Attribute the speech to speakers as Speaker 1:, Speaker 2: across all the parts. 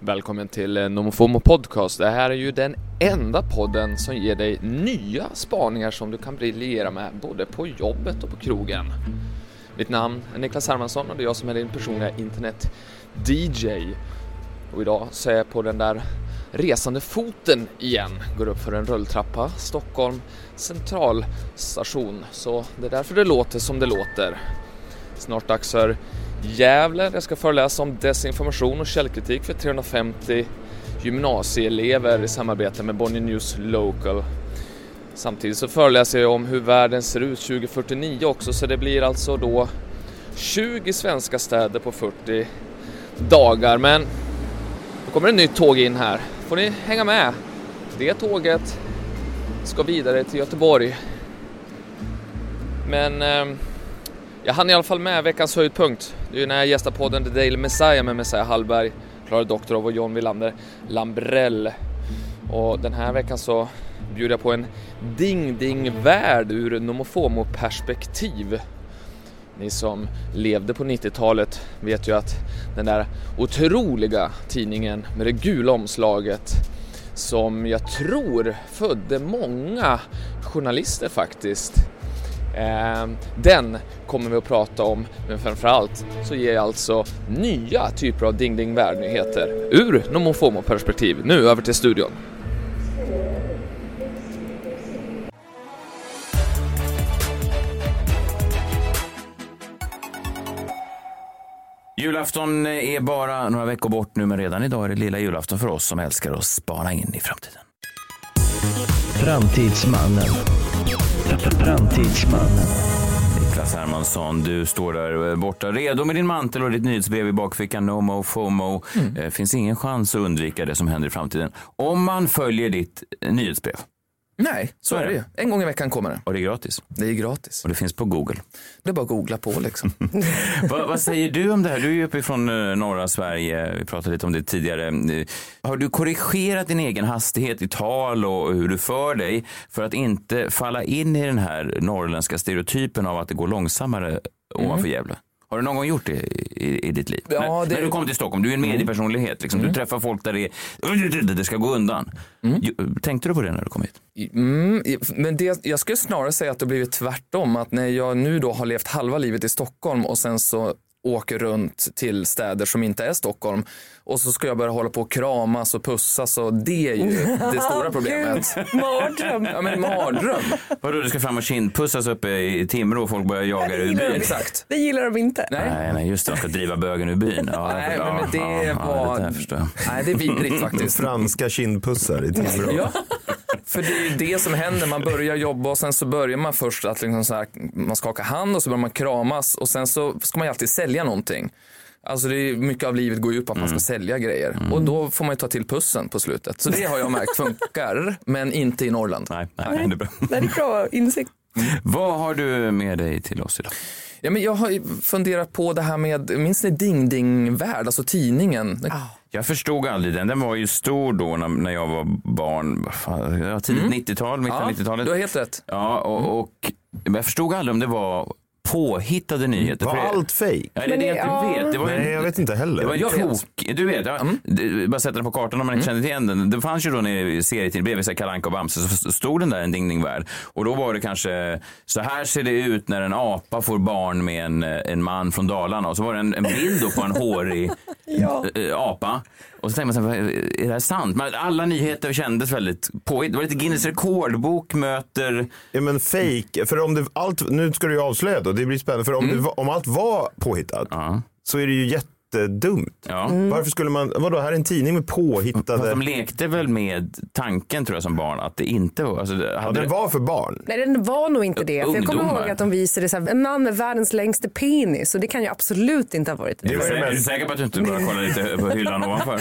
Speaker 1: Välkommen till eh, NomoFomo Podcast. Det här är ju den enda podden som ger dig nya spaningar som du kan briljera med både på jobbet och på krogen. Mitt namn är Niklas Hermansson och det är jag som är din personliga internet-DJ. Och idag så är jag på den där resande foten igen. Går upp för en rulltrappa, Stockholm centralstation. Så det är därför det låter som det låter. Snart dags för Gävle där jag ska föreläsa om desinformation och källkritik för 350 gymnasieelever i samarbete med Bonnier News Local. Samtidigt så föreläser jag om hur världen ser ut 2049 också så det blir alltså då 20 svenska städer på 40 dagar men nu kommer ett nytt tåg in här. Får ni hänga med? Det tåget ska vidare till Göteborg. Men ehm, jag hann i alla fall med veckans höjdpunkt. Det är ju när jag gästar podden The Daily Messiah med Messiah Hallberg, Klara Doktorov och John Wilander Lambrell. Och den här veckan så bjuder jag på en ding-ding-värld ur nomofomo-perspektiv. Ni som levde på 90-talet vet ju att den där otroliga tidningen med det gula omslaget som jag tror födde många journalister faktiskt. Eh, Den kommer vi att prata om, men framförallt så ger jag alltså nya typer av Ding Ding Värld-nyheter ur nomofomo-perspektiv. Nu över till studion.
Speaker 2: Julafton är bara några veckor bort nu, men redan idag är det lilla julafton för oss som älskar att spana in i framtiden.
Speaker 3: Framtidsmannen. Framtidsmannen.
Speaker 2: Niklas Hermansson, du står där eh, borta redo med din mantel och ditt nyhetsbrev i bakfickan. No mo, fomo. Mm. Finns ingen chans att undvika det som händer i framtiden om man följer ditt eh, nyhetsbrev.
Speaker 4: Nej, så är det ju. En gång i veckan kommer den.
Speaker 2: Och det är gratis.
Speaker 4: Det är ju gratis.
Speaker 2: Och det finns på Google.
Speaker 4: Det är bara att googla på liksom.
Speaker 2: Va, vad säger du om det här? Du är ju uppifrån eh, norra Sverige. Vi pratade lite om det tidigare. Eh, Har du korrigerat din egen hastighet i tal och hur du för dig för att inte falla in i den här norrländska stereotypen av att det går långsammare ovanför Gävle? Har du någon gång gjort det i, i, i ditt liv?
Speaker 4: Mm. Ja,
Speaker 2: när,
Speaker 4: det- Mm.
Speaker 2: när du kom till Stockholm, du är en mediepersonlighet. Liksom. Du träffar folk där det är, det ska gå undan. Ju- Tänkte du på det när du kom hit?
Speaker 4: Mm, men det, jag skulle snarare säga att det har blivit tvärtom. Att när jag nu då har levt halva livet i Stockholm och sen så åker runt till städer som inte är Stockholm och så ska jag börja hålla på och kramas och pussas och det är ju det stora problemet.
Speaker 5: Mardröm.
Speaker 4: Ja men mardröm.
Speaker 2: Vadå, du ska fram och kindpussas uppe i Timrå och folk börjar jaga dig ur
Speaker 5: gillar
Speaker 2: byn?
Speaker 5: det.
Speaker 4: Exakt.
Speaker 5: Det gillar de inte.
Speaker 4: Nej.
Speaker 2: Nej, nej, just det. De ska driva bögen ur byn. Ja,
Speaker 4: Nej,
Speaker 2: ja,
Speaker 4: men det
Speaker 2: ja, Ja,
Speaker 4: var-
Speaker 2: det där förstår jag.
Speaker 4: Nej det är vidrigt faktiskt.
Speaker 6: Franska kindpussar i Timrå.
Speaker 4: Ja, för det är ju det som händer. Man börjar jobba och sen så börjar man först att liksom så här, man skakar hand och så börjar man kramas och sen så ska man ju alltid sälja någonting. Alltså det är, mycket av livet går ju ut på att
Speaker 2: Mm.
Speaker 4: man ska sälja grejer och då får man ju ta till pussen på slutet. Så det har jag märkt funkar, men inte i Norrland.
Speaker 2: Nej, nej, det är bra.
Speaker 5: Det är bra insikt.
Speaker 2: Vad har du med dig till oss idag?
Speaker 4: Ja, men jag har ju funderat på det här med, minns ni Ding Ding Värld, alltså tidningen?
Speaker 5: Ah.
Speaker 2: Jag förstod aldrig den. Den var ju stor då när, när jag var barn. Vad fan, ja, Tidigt 90-tal, mitten
Speaker 4: Mm. Ja,
Speaker 2: 90-talet.
Speaker 4: du har helt rätt. Mm.
Speaker 2: Ja, och, och men jag förstod aldrig om det var påhittade nyheter.
Speaker 6: Var
Speaker 2: För det-
Speaker 6: allt fejk?
Speaker 2: Nej, det är
Speaker 5: Men
Speaker 2: det jag
Speaker 5: ja.
Speaker 2: inte vet. Det var ju
Speaker 6: Nej, jag vet inte heller.
Speaker 2: Det var
Speaker 4: Jag
Speaker 2: en
Speaker 4: vet.
Speaker 2: tok, du vet, ja,
Speaker 6: Mm.
Speaker 2: Det- bara sätta den på kartan om man inte kände till den. Det fanns ju då nere i serietidningen bredvid så här Kalle Anka och Bamse så stod den där en ding ding värld och då var det kanske så här ser det ut när en apa får barn med en, eh, en man från Dalarna och så var det en, en bild då på en hårig
Speaker 5: Ja.
Speaker 2: eh, apa och så tänkte man så här, är det här sant? Men alla nyheter kändes väldigt påhitt. Det var lite Guinness rekordbok möter
Speaker 6: Ja, men fake. För om det, allt, nu ska du ju avslöja då, det blir spännande. För om, det, va- om allt var påhittat
Speaker 2: Mm. Ja.
Speaker 6: så är det ju jättedumt.
Speaker 2: Ja.
Speaker 6: Varför skulle man, vadå här är en tidning med
Speaker 2: Fast
Speaker 6: påhittade,
Speaker 2: de lekte väl med tanken tror jag som barn att det inte var... Alltså, det-
Speaker 6: ja,
Speaker 2: hade
Speaker 6: den
Speaker 2: det-
Speaker 6: var för barn.
Speaker 5: Nej, den var nog inte det. För jag kommer
Speaker 2: Ungdomar.
Speaker 5: ihåg att de visade så här, en man med världens längsta penis och det kan ju absolut inte ha varit det.
Speaker 6: Det var, ju
Speaker 2: Är du
Speaker 6: mest,
Speaker 2: säker på att du inte bara kollar lite på hyllan ovanför?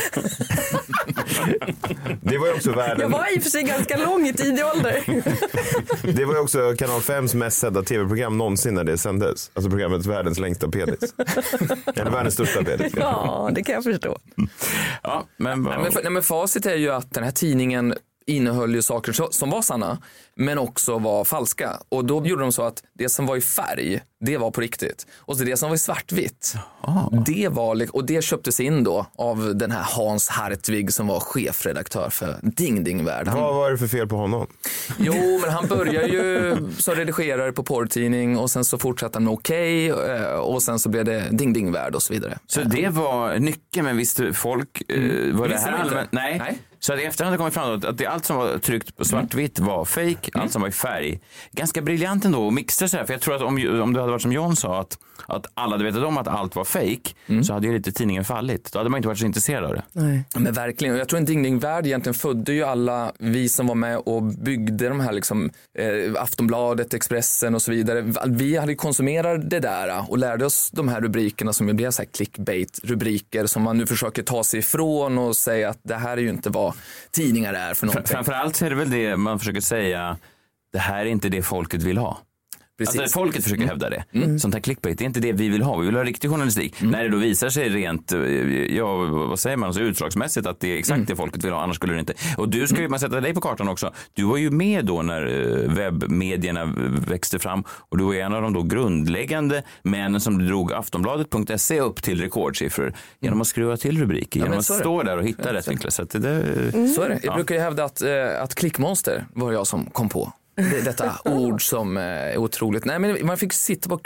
Speaker 6: det var ju också
Speaker 5: Jag
Speaker 6: världen,
Speaker 5: var i och för sig ganska lång i tidig ålder.
Speaker 6: det var ju också kanal 5s mest sedda tv-program någonsin när det sändes. Alltså programmet världens längsta penis. Eller världens största penis.
Speaker 5: Ja, det kan jag förstå.
Speaker 2: Ja, men,
Speaker 4: Nej, men, fa- nej, men facit är ju att den här tidningen innehöll ju saker så- som var sanna, men också var falska. Och då gjorde de så att det som var i färg, det var på riktigt. Och så det som var i svartvitt, det var, lik- och det köptes in då av den här Hans Hartvig som var chefredaktör för Ding Ding Värld. Han-
Speaker 6: Vad var det för fel på honom?
Speaker 4: Jo, men han började ju som redigerare på porrtidning och sen så fortsatte han med Okej eh, och sen så blev det Ding Ding Värld och så vidare.
Speaker 2: Så det var nyckeln, men visste folk eh, vad det
Speaker 4: Visste
Speaker 2: här
Speaker 4: de inte?
Speaker 2: allmän- Nej.
Speaker 4: Nej.
Speaker 2: Så att i efterhand har det kommit fram att- att det, allt som var tryckt på svartvitt var fake, allt som var i färg. Ganska briljant ändå att mixa så här. För jag tror att om, om det hade varit som John sa, att, att alla hade vetat om att allt var fake, så hade ju lite tidningen fallit. Då hade man inte varit så intresserad av det.
Speaker 5: Nej.
Speaker 4: Men verkligen, och jag tror en Ding Ding Värld egentligen födde ju alla vi som var med och byggde de här liksom eh, Aftonbladet, Expressen och så vidare. Vi hade ju konsumerat det där eh, och lärde oss de här rubrikerna som ju blev så här clickbait-rubriker som man nu försöker ta sig ifrån och säga att det här är ju inte vad tidningar är för någonting.
Speaker 2: Framförallt så är det väl det man försöker säga, det här är inte det folket vill ha.
Speaker 4: Precis. Mm.
Speaker 2: Alltså folket försöker hävda det. Mm. Sånt här clickbait, det är inte det vi vill ha. Vi vill ha riktig journalistik.
Speaker 4: Mm.
Speaker 2: När det då visar sig rent, eh, ja vad säger man, så utslagsmässigt att det är
Speaker 4: Mm.
Speaker 2: exakt det folket vill ha, annars skulle det inte. Och du ska ju, man sätter dig på kartan också. Du var ju med då när eh, webbmedierna växte fram och du var ju en av de då grundläggande männen som drog Aftonbladet.se upp till rekordsiffror genom att skruva till rubriker, genom
Speaker 4: Mm. men
Speaker 2: att
Speaker 4: så är det.
Speaker 2: stå
Speaker 4: Mm.
Speaker 2: där och hitta rätt vinklar. Så att det där,
Speaker 4: Så är det. Jag brukar ju hävda att, eh, att klickmonster var jag som kom på. Det, detta ord som eh, är otroligt. Nej, men man fick sitta på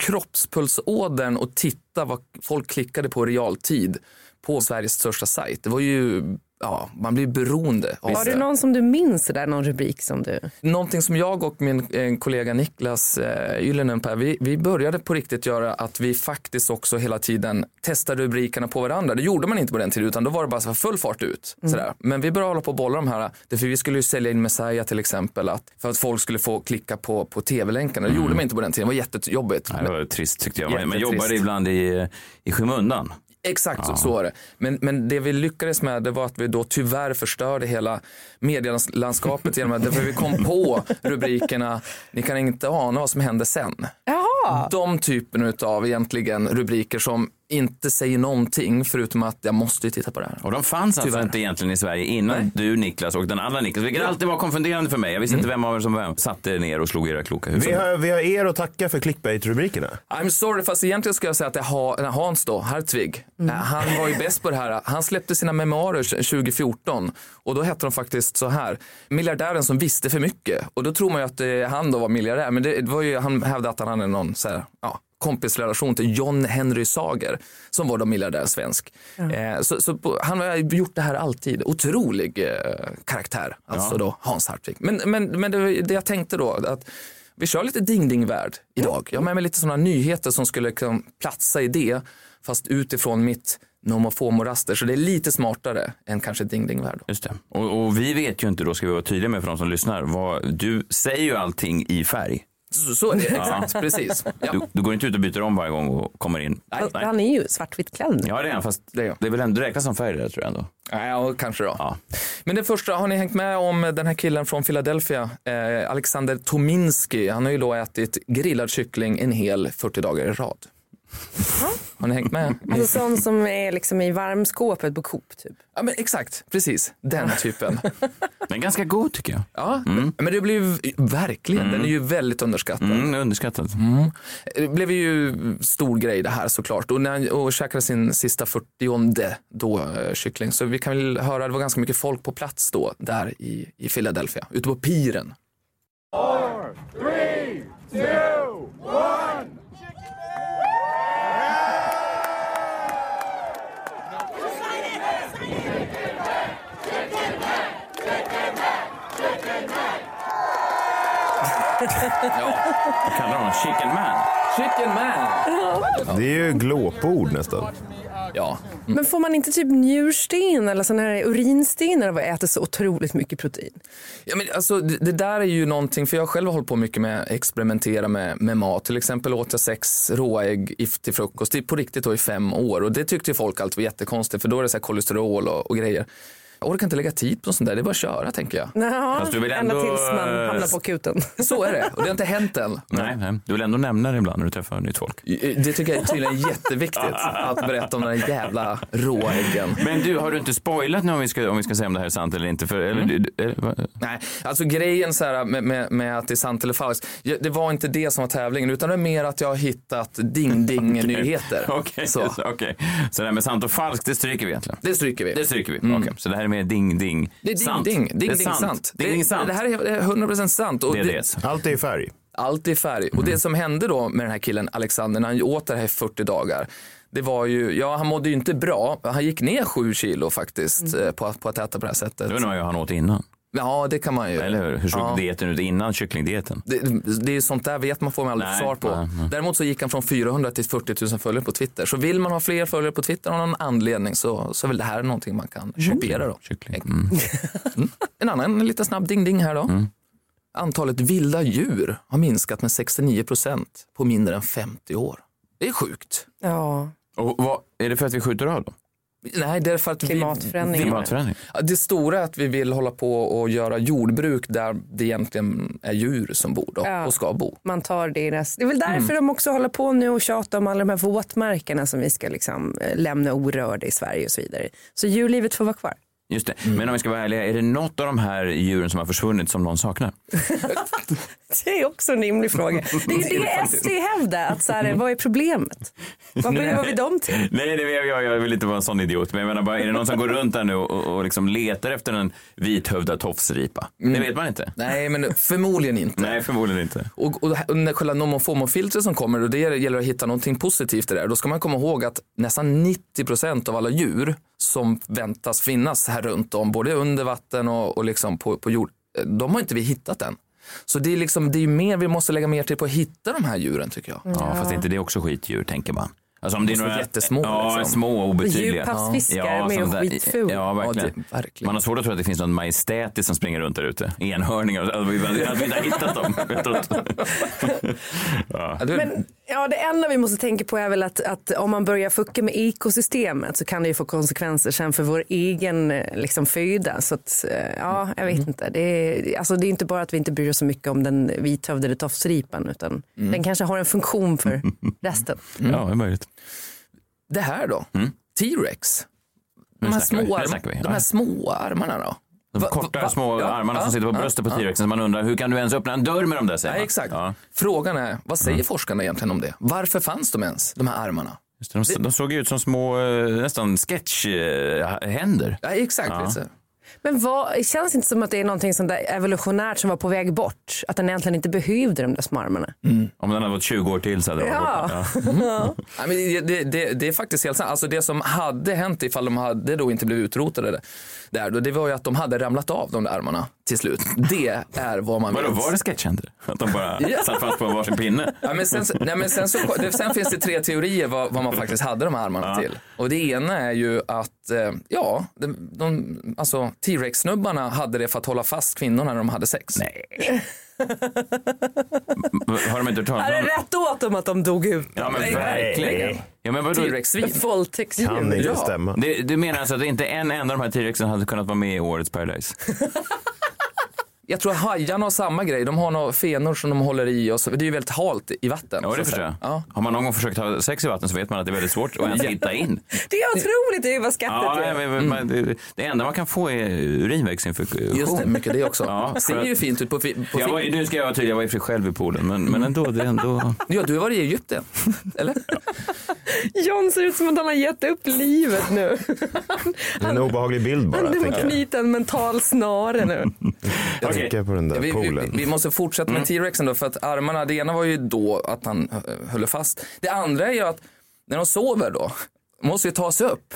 Speaker 4: kroppspulsådern och titta vad folk klickade på i realtid på Sveriges största sajt. Det var ju, ja, man blir beroende av
Speaker 5: Var
Speaker 4: det.
Speaker 5: det någon som du minns där, någon rubrik som du...
Speaker 4: Någonting som jag och min eh, kollega Niklas eh, Ylenen Per, vi, vi började på riktigt göra att vi faktiskt också hela tiden testade rubrikerna på varandra. Det gjorde man inte på den tiden utan då var det bara så här full fart ut. Sådär. Men vi började hålla på och bolla de här, därför vi skulle ju sälja in Messiah till exempel att, för att folk skulle få klicka på, på tv-länkarna. Det gjorde man inte på den tiden, det var jättejobbigt.
Speaker 2: Nej, det var trist tyckte jag. Man, man
Speaker 4: Jättetrist.
Speaker 2: jobbar ibland i, eh, i skymundan.
Speaker 4: Exakt så- så var det. Men, men det vi lyckades med det var att vi då tyvärr förstörde hela medielandskapet genom att därför vi kom på rubrikerna Ni kan inte ana vad som hände sen.
Speaker 5: Jaha!
Speaker 4: De typen av egentligen rubriker som inte säger någonting förutom att jag måste ju titta på det här.
Speaker 2: Och de fanns alltså
Speaker 4: Tyvärr.
Speaker 2: inte egentligen i Sverige innan du Niklas och den andra Niklas, vilket alltid var konfunderande för mig. Jag visste inte vem av er som vem. Satte er ner och slog era kloka
Speaker 6: Vi
Speaker 2: huvuden.
Speaker 6: har, vi har er att tacka för clickbait-rubrikerna.
Speaker 4: I'm sorry, fast egentligen skulle jag säga att det är Ha- nej, Hans då, Hartvig. Eh, Han var ju bäst på det här. Han släppte sina memoarer 2014 och då hette de faktiskt så här. Miljardären som visste för mycket. Och då tror man ju att eh, han då var miljardär, men det det var ju, han hävdade att han hade någon så här, ja, kompisrelation till John Henry Sager som var då miljardär svensk. Eh, så så på, han har ju gjort det här alltid. Otrolig eh, karaktär, alltså då Hans Hartvig. Men, men, men det, var ju det jag tänkte då, att vi kör lite ding-ding-värld idag. Jag har med mig lite sådana nyheter som skulle kunna platsa i det, fast utifrån mitt nomofomoraster. Så det är lite smartare än kanske ding-ding-värld.
Speaker 2: Just det. Och, och vi vet ju inte då, ska vi vara tydliga med för de som lyssnar, vad, du säger ju allting i färg.
Speaker 4: Så, så är det, exakt, precis.
Speaker 2: Du,
Speaker 4: Ja.
Speaker 2: du går inte ut och byter om varje gång och kommer in.
Speaker 5: Han- Han är ju svartvitt klädd.
Speaker 2: Ja, det är han, fast
Speaker 4: Det är jag.
Speaker 2: det är väl ändå det räknas som färg det där tror jag ändå.
Speaker 4: Ja, kanske då.
Speaker 2: Ja.
Speaker 4: Men det första, har ni hängt med om den här killen från Philadelphia? Eh, Alexander Tominski, han har ju då ätit grillad kyckling en hel 40 dagar i rad. Har ni hängt med?
Speaker 2: Mm.
Speaker 5: Alltså sån som är liksom i varmskåpet på Coop typ.
Speaker 4: Ja, men exakt, precis. Den typen.
Speaker 2: Men ganska god tycker jag.
Speaker 4: Ja, men det blev ju verkligen, den är ju väldigt underskattad.
Speaker 2: Mm, underskattat.
Speaker 4: Det blev ju stor grej det här såklart. Och när han och käkade sin sista 40 då eh, kyckling, så vi kan väl höra, det var ganska mycket folk på plats då, där i, i Philadelphia, ute på piren.
Speaker 2: Kallar honom chicken man.
Speaker 4: Chicken man!
Speaker 6: Det är ju glåpord nästan.
Speaker 4: Ja,
Speaker 2: Mm.
Speaker 5: Men får man inte typ njursten eller sån här urinsten när man äter så otroligt mycket protein?
Speaker 4: Ja, men alltså, det, det där är ju någonting, för jag själv har hållit på mycket med att experimentera med, med mat. Till exempel åt jag sex råägg i- till frukost, det är på riktigt då i fem år. Och det tyckte ju folk alltid var jättekonstigt, för då är det så här kolesterol och, och grejer. Jag orkar inte lägga tid på sånt där, det är bara att köra tänker jag.
Speaker 5: Naha,
Speaker 2: Fast du vill
Speaker 5: ända
Speaker 2: ändå,
Speaker 5: tills man
Speaker 2: eh,
Speaker 5: hamnar på akuten.
Speaker 4: Så är det, och det har inte hänt än.
Speaker 2: Nej, nej, du vill ändå nämna det ibland när du träffar nytt folk.
Speaker 4: Det tycker jag tydligen är jätteviktigt, att berätta om den där jävla råäggen.
Speaker 2: Men du, har du inte spoilat nu om vi ska, om vi ska säga om det här är sant eller inte? För, eller, du- du- eller, vad-
Speaker 4: Nej, alltså grejen så här med, med, med att det är sant eller falskt, ja, det var inte det som var tävlingen utan det är mer att jag har hittat ding-ding-nyheter.
Speaker 2: Okej,
Speaker 4: Så,
Speaker 2: så. okej. så det här med sant och falskt, det stryker vi egentligen.
Speaker 4: det stryker vi.
Speaker 2: Det stryker vi. Okej, så det här är mer ding-ding.
Speaker 4: Mm. Det är ding-ding,
Speaker 2: Det är
Speaker 4: ding-ding sant.
Speaker 2: Ding, ding, sant.
Speaker 4: Det, det här är- det är 100% sant. Och
Speaker 2: det är
Speaker 4: det,
Speaker 2: det. Mm.
Speaker 6: Allt är i färg.
Speaker 4: allt är i färg. Och det som hände då med den här killen Alexander när han åt det här i 40 dagar. Det var ju, ja han mådde ju inte bra. Han gick ner 7 kilo faktiskt eh, på, att- på att äta på det här sättet.
Speaker 2: Mm. Det undrar jag hur han åt innan.
Speaker 4: Ja det kan man ju.
Speaker 2: Eller hur? Hur såg
Speaker 4: Ja.
Speaker 2: dieten ut innan kycklingdieten?
Speaker 4: Det, det är sånt där vet man får man aldrig
Speaker 2: Nej,
Speaker 4: svar på.
Speaker 2: nej, nej.
Speaker 4: Däremot så gick han från 400 till 40 000 följare på Twitter. Så vill man ha fler följare på Twitter av någon anledning så, så är väl det här någonting man kan kopiera då.
Speaker 2: Kyckling. Mm.
Speaker 4: En annan liten snabb ding-ding här då. Antalet vilda djur har minskat med 69 procent på mindre än 50 år. Det är sjukt.
Speaker 5: Ja,
Speaker 2: Och vad, är det för att vi skjuter av då?
Speaker 4: Nej, det är för att
Speaker 5: klimatförändringar.
Speaker 2: Klimatförändring?
Speaker 4: Vi, det stora är att vi vill hålla på och göra jordbruk där det egentligen är djur som bor då,
Speaker 5: Ja.
Speaker 4: och ska bo.
Speaker 5: Man tar det i rest. Det är väl därför de också håller på nu och tjatar om alla de här våtmarkerna som vi ska liksom eh, lämna orörda i Sverige och så vidare. Så djurlivet får vara kvar.
Speaker 2: Just det.
Speaker 4: Mm.
Speaker 2: Men om vi ska vara ärliga, är det något av de här djuren som har försvunnit som någon saknar?
Speaker 4: Mm.
Speaker 5: Det är också en rimlig fråga. Det är ju det SD hävdar, att så här, vad är problemet? Vad behöver vi dem till?
Speaker 2: Nej, nej jag, jag, jag vill inte vara en sån idiot. Men jag menar bara, är det någon som går runt där nu och, och liksom letar efter en vithövdad tofsripa?
Speaker 4: Mm.
Speaker 2: Det vet man inte.
Speaker 4: Nej, men förmodligen inte.
Speaker 2: Nej, förmodligen inte.
Speaker 4: Och, och, och när själva nomofomofiltret som kommer och det gäller att hitta någonting positivt i det där. Då ska man komma ihåg att nästan 90 procent av alla djur som väntas finnas här runt om, både under vatten och, och liksom på, på jord, eh, de har inte vi hittat än. Så det är liksom, det är ju mer vi måste lägga mer tid på att hitta de här djuren tycker jag.
Speaker 2: Mm. Ja, fast är inte det också skitdjur, tänker man? Alltså om det är
Speaker 4: Måste vara
Speaker 2: några
Speaker 4: jättesmå,
Speaker 2: Ja,
Speaker 4: liksom.
Speaker 2: små och obetydliga.
Speaker 5: Djurpassfiskar med
Speaker 2: sånt där.
Speaker 5: skitful.
Speaker 2: Ja, verkligen.
Speaker 4: Ja, det- verkligen.
Speaker 2: Man har svårt att tro att det finns någon majestätisk som springer runt där ute. Enhörningar, att vi att vi inte har hittat dem. Jag tror inte-
Speaker 4: Ja, det är-
Speaker 2: Mm.
Speaker 5: Men, ja, det enda vi måste tänka på är väl att, att om man börjar fucka med ekosystemet så kan det ju få konsekvenser sen för vår egen eh, liksom, föda. Så att, eh,
Speaker 2: Mm.
Speaker 5: ja, jag vet inte. Det är, alltså, det är inte bara att vi inte bryr oss så mycket om den vithövdade tofsripan utan
Speaker 2: Mm.
Speaker 5: den kanske har en funktion för resten.
Speaker 2: Ja, det är möjligt.
Speaker 4: det här då, T-rex. De här,
Speaker 2: snackar vi.
Speaker 4: små,
Speaker 2: Mm. Nu
Speaker 4: arm-
Speaker 2: snackar vi. Ja.
Speaker 4: de här små armarna då.
Speaker 2: De
Speaker 4: Va-
Speaker 2: korta
Speaker 4: va-
Speaker 2: små
Speaker 4: ja,
Speaker 2: armarna som
Speaker 4: ja,
Speaker 2: sitter på
Speaker 4: ja,
Speaker 2: bröstet på
Speaker 4: ja.
Speaker 2: T-rexen. Man undrar hur kan du ens öppna en dörr med de där säger
Speaker 4: Nej,
Speaker 2: man.
Speaker 4: exakt.
Speaker 2: Ja, Mm.
Speaker 4: Frågan är, vad säger forskarna egentligen om det? Varför fanns de ens, de här armarna?
Speaker 2: just det, de, de såg ut som små eh, nästan sketchhänder.
Speaker 4: Ja, exakt. lite så.
Speaker 5: Men vad, känns det inte som att det är någonting som där evolutionärt som var på väg bort? Att den egentligen inte behövde de där små armarna?
Speaker 2: Om den hade varit 20 år till så hade det varit
Speaker 5: Ja.
Speaker 2: borta. ja.
Speaker 4: Nej, men det- det, det, det är faktiskt helt sant. Alltså det som hade hänt ifall de hade då inte blivit utrotade där- där, då, det var ju att de hade ramlat av de där armarna till slut. Det är vad man
Speaker 2: Vadå,
Speaker 4: vet.
Speaker 2: var det sketchhänder? Att de bara
Speaker 4: Ja.
Speaker 2: satt fast på varsin pinne?
Speaker 4: Ja, men sen, nej, men sen, så, det- sen finns det tre teorier vad, vad man faktiskt hade de här armarna till. Och det ena är ju att eh, ja, de, de, alltså, T-Rex-snubbarna hade det för att hålla fast kvinnorna när de hade sex. Nej.
Speaker 2: Har de inte hört talas
Speaker 5: Är det
Speaker 2: om
Speaker 5: rätt åt dem att de dog ut?
Speaker 2: Ja men verkligen. Ja, men vadå?
Speaker 4: T-Rex-svin.
Speaker 6: Kan
Speaker 5: Våldtäktsdjur.
Speaker 6: inte
Speaker 4: Ja.
Speaker 6: stämma.
Speaker 2: Det, du menar alltså att inte en enda av de här T-rexen hade kunnat vara med i årets Paradise?
Speaker 4: Jag tror hajarna har samma grej. De har några fenor som de håller i och så. Det är ju väldigt halt i vatten.
Speaker 2: Ja,
Speaker 4: så
Speaker 2: det
Speaker 4: att
Speaker 2: förstår jag.
Speaker 4: säga. Ja.
Speaker 2: Har man någon gång försökt ha sex i vatten så vet man att det är väldigt svårt att ens hitta in.
Speaker 5: Det är otroligt det är vad skattet
Speaker 2: Ja,
Speaker 5: är.
Speaker 2: men, men, det, det enda man kan få är urinvägsinfektion.
Speaker 4: Just det, mycket det också.
Speaker 2: Ja, för
Speaker 4: Ser
Speaker 2: att-
Speaker 4: ju fint ut på, fi- på
Speaker 2: Jag var,
Speaker 4: film.
Speaker 2: nu ska jag vara tydlig, jag var i och för sig själv i poolen, men, men ändå, det är ändå...
Speaker 4: Ja, du har varit i Egypten, eller?
Speaker 5: John ser ut som att han har gett upp livet nu.
Speaker 6: Det är en obehaglig bild bara.
Speaker 5: Du får
Speaker 6: tänker jag.
Speaker 5: knyta en mental snare nu.
Speaker 6: Jag tänker på den där
Speaker 4: vi, vi,
Speaker 6: poolen.
Speaker 4: vi måste fortsätta
Speaker 2: Mm.
Speaker 4: med T-Rexen då, för att armarna, det ena var ju då att han eh, höll fast. Det andra är ju att när de sover då, måste ju ta sig upp.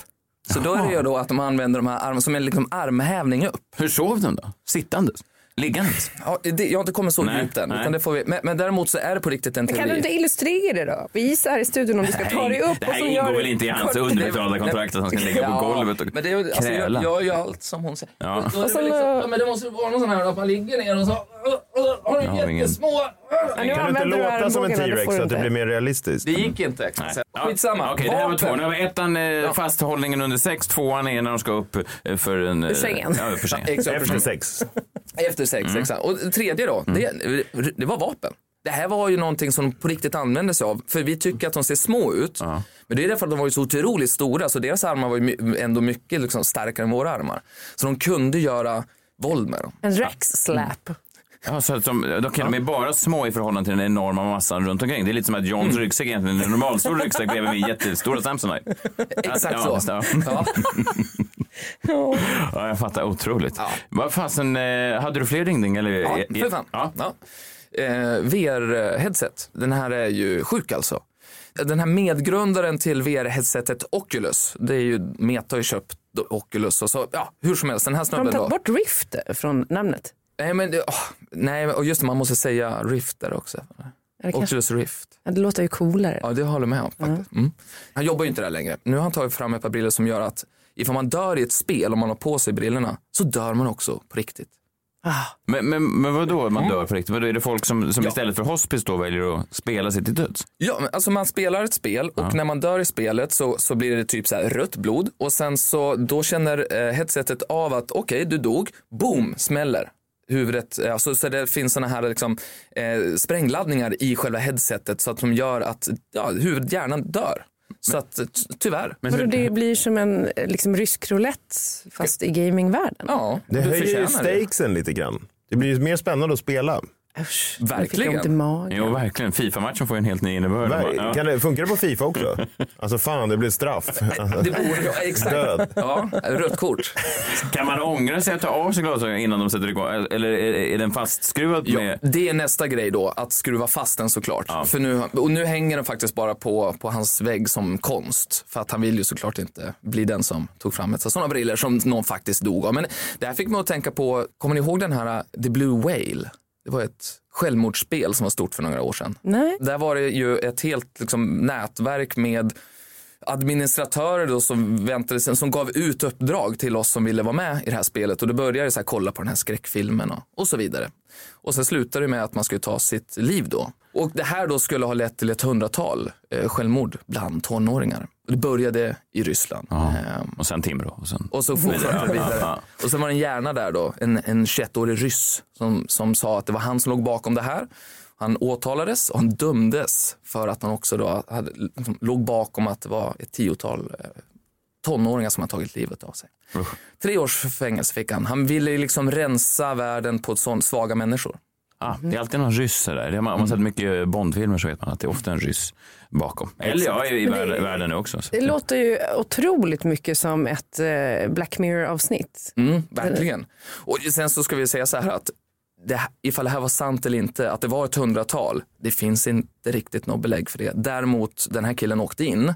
Speaker 4: Så då är det ju då att de använder de här armarna som en liksom armhävning upp.
Speaker 2: Hur sov de då? Sittandes? Liggandes?
Speaker 4: Ja, det, jag har inte kommit så
Speaker 2: Nej,
Speaker 4: djupt än,
Speaker 2: nej.
Speaker 4: utan det får vi, men, men däremot så är det på riktigt en teori.
Speaker 5: Kan du inte illustrera det då? Visa här i studion om du ska ta dig upp.
Speaker 2: det här
Speaker 5: så
Speaker 2: ingår
Speaker 5: du-
Speaker 2: väl inte i hans underbetalda kontrakt att han ska ligga på golvet och
Speaker 4: men det, är ju- alltså, jag,
Speaker 2: kräla?
Speaker 4: jag gör ju allt som hon säger.
Speaker 2: Ja.
Speaker 4: Då är det
Speaker 5: sen,
Speaker 4: liksom,
Speaker 5: eh,
Speaker 4: ja, men det måste ju vara någon sån här att man ligger ner och så. Och, och,
Speaker 1: armbågen har
Speaker 2: Jag
Speaker 1: de
Speaker 2: har ingen-
Speaker 1: jättesmå...
Speaker 5: Ja, nu
Speaker 6: Kan du inte
Speaker 5: använder
Speaker 6: låta som en
Speaker 5: armbågarna, det
Speaker 6: T-rex
Speaker 5: får du
Speaker 6: så att det
Speaker 5: inte.
Speaker 6: blir mer realistiskt?
Speaker 1: Det gick inte. Skitsamma.
Speaker 2: Okej, det här var
Speaker 1: Vapen.
Speaker 2: två. Nu var ettan eh, fasthållningen under sex, tvåan är när de ska upp eh, för en... Ur
Speaker 5: sängen.
Speaker 2: Ja, för sängen.
Speaker 4: Exakt,
Speaker 6: Efter
Speaker 4: precis.
Speaker 6: sex.
Speaker 4: Efter sex,
Speaker 2: Mm.
Speaker 4: exakt. Och tredje då, det, det var vapen. Det här var ju någonting som de på riktigt använde sig av. För vi tycker att de ser små ut. Men det är därför att de var ju så otroligt stora. Så deras armar var ju my- ändå mycket liksom starkare än våra armar. Så de kunde göra våld med dem.
Speaker 5: En rex slap.
Speaker 2: Ja, så att de, de kan de är bara små i förhållande till den enorma massan runt omkring. Det är lite som att Johns ryggsäck egentligen är en normalstor ryggsäck bredvid min jättestora Samsonite.
Speaker 4: Exakt
Speaker 2: ja,
Speaker 4: så.
Speaker 2: Ja,
Speaker 4: Ja.
Speaker 2: ja, jag fattar. Otroligt. Vad fasen, eh, hade du fler ringning? Eller?
Speaker 4: Ja, för fan.
Speaker 2: Ja.
Speaker 4: Ja. Eh, VR-headset, den här är ju sjuk alltså. Den här medgrundaren till VR-headsetet Oculus, det är ju Meta har ju köpt Oculus och så, ja hur som helst, den här
Speaker 5: Har de
Speaker 4: snubben då.
Speaker 5: tagit bort Rift från namnet?
Speaker 4: Nej men, det- åh, nej men- och just det, man måste säga Rift där också.
Speaker 5: Eller kanske,
Speaker 4: Oculus Rift.
Speaker 5: Ja, det låter ju coolare.
Speaker 4: Ja, det håller jag med om faktiskt. Mm. Han jobbar ju inte där längre. Nu har han tagit fram ett par briller som gör att ifall man dör i ett spel, om man har på sig brillorna, så dör man också på riktigt.
Speaker 5: Ah,
Speaker 2: Men, men, men vad då man dör på riktigt? Vadå, är det folk som, som istället för hospice då väljer att spela sig till döds?
Speaker 4: Ja, men alltså man spelar ett spel och när man dör i spelet så, så blir det typ så här rött blod och sen så då känner eh, headsetet av att okej, du dog, boom, smäller huvudet. eh, Alltså, så det finns såna här liksom, eh, sprängladdningar i själva headsetet så att de gör att ja, huvudet, hjärnan dör. Så att t- tyvärr.
Speaker 2: Men
Speaker 5: Vadå,
Speaker 2: hur,
Speaker 5: det blir som en eh, liksom, rysk roulette fast i gamingvärlden.
Speaker 4: Ja,
Speaker 6: Det
Speaker 4: du
Speaker 6: höjer ju
Speaker 4: förtjänar det.
Speaker 6: stakesen lite grann. Det blir ju mer spännande att spela.
Speaker 5: Usch,
Speaker 4: Verkligen.
Speaker 5: Jag fick ont i magen.
Speaker 2: jo, verkligen. Fifa-matchen får ju en helt ny innebörd.
Speaker 6: Ver-
Speaker 2: Ja.
Speaker 6: Kan det, funkar det på Fifa också? Alltså fan, det blir straff. Alltså,
Speaker 4: Det borde, ja, exakt.
Speaker 6: död.
Speaker 4: Ja, rött kort.
Speaker 2: Kan man ångra sig att ta av sig glasögonen innan de sätter igång? Eller är, är den fastskruvad
Speaker 4: Ja,
Speaker 2: med...
Speaker 4: det är nästa grej då, att skruva fast den såklart. För nu, och nu hänger den faktiskt bara på, på hans vägg som konst. För att han vill ju såklart inte bli den som tog fram ett sådana briller som någon faktiskt dog av. Men det här fick mig att tänka på, kommer ni ihåg den här uh, The Blue Whale? Det var ett självmordsspel som var stort för några år sedan.
Speaker 5: Nej.
Speaker 4: Där var det ju ett helt liksom, nätverk med administratörer då som, väntade, sig- som gav ut uppdrag till oss som ville vara med i det här spelet. Och då började det så här, kolla på den här skräckfilmen och, och så vidare. Och sen slutade det med att man skulle ta sitt liv då. Och det här då skulle ha lett till ett hundratal eh, självmord bland tonåringar. Det började i Ryssland. Ehm,
Speaker 2: Och sen Timrå. Och sen...
Speaker 4: och så fortsatte det vidare. Och sen var det en hjärna där då, en, en 21-årig ryss som, som sa att det var han som låg bakom det här. Han åtalades och han dömdes för att han också då hade, liksom, låg bakom att det var ett tiotal eh, tonåringar som hade tagit livet av sig. Tre års fängelse fick han. Han ville ju liksom rensa världen på sån, svaga människor.
Speaker 2: Ah, det är alltid någon ryss där. Det har man, om man sett mycket Bondfilmer så vet man att det är ofta en ryss bakom. Eller ja, i, i
Speaker 5: Men det-
Speaker 2: världen, världen nu också. Så.
Speaker 5: Det låter ju otroligt mycket som ett eh, Black Mirror-avsnitt.
Speaker 4: Mm, verkligen. Och sen så ska vi säga så här att det, här- ifall det här var sant eller inte, att det var ett hundratal, det finns inte riktigt något belägg för det. Däremot den här killen åkte in,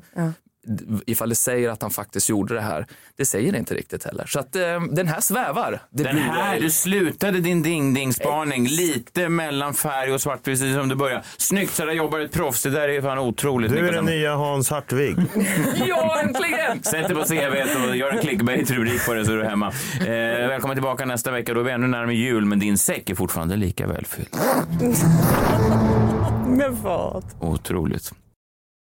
Speaker 4: d- ifall det säger att han faktiskt gjorde det här, det säger det inte riktigt heller. Så att eh, den här svävar. Det
Speaker 2: Den
Speaker 4: blir
Speaker 2: här,
Speaker 4: väl-
Speaker 2: du slutade din ding-ding-spaning lite mellan färg och svart precis som du började. Snyggt, så där jobbar ett proffs. Det där är fan otroligt.
Speaker 6: Du är
Speaker 2: Niklas.
Speaker 6: den nya Hans Hartvig.
Speaker 4: Ja, äntligen!
Speaker 2: Sätt det på CV och gör en clickbait-rubrik på det så är du hemma. Eh, välkommen tillbaka nästa vecka. Då är vi ännu närmare jul, men din säck är fortfarande lika välfylld.
Speaker 5: Men vad?
Speaker 2: Otroligt.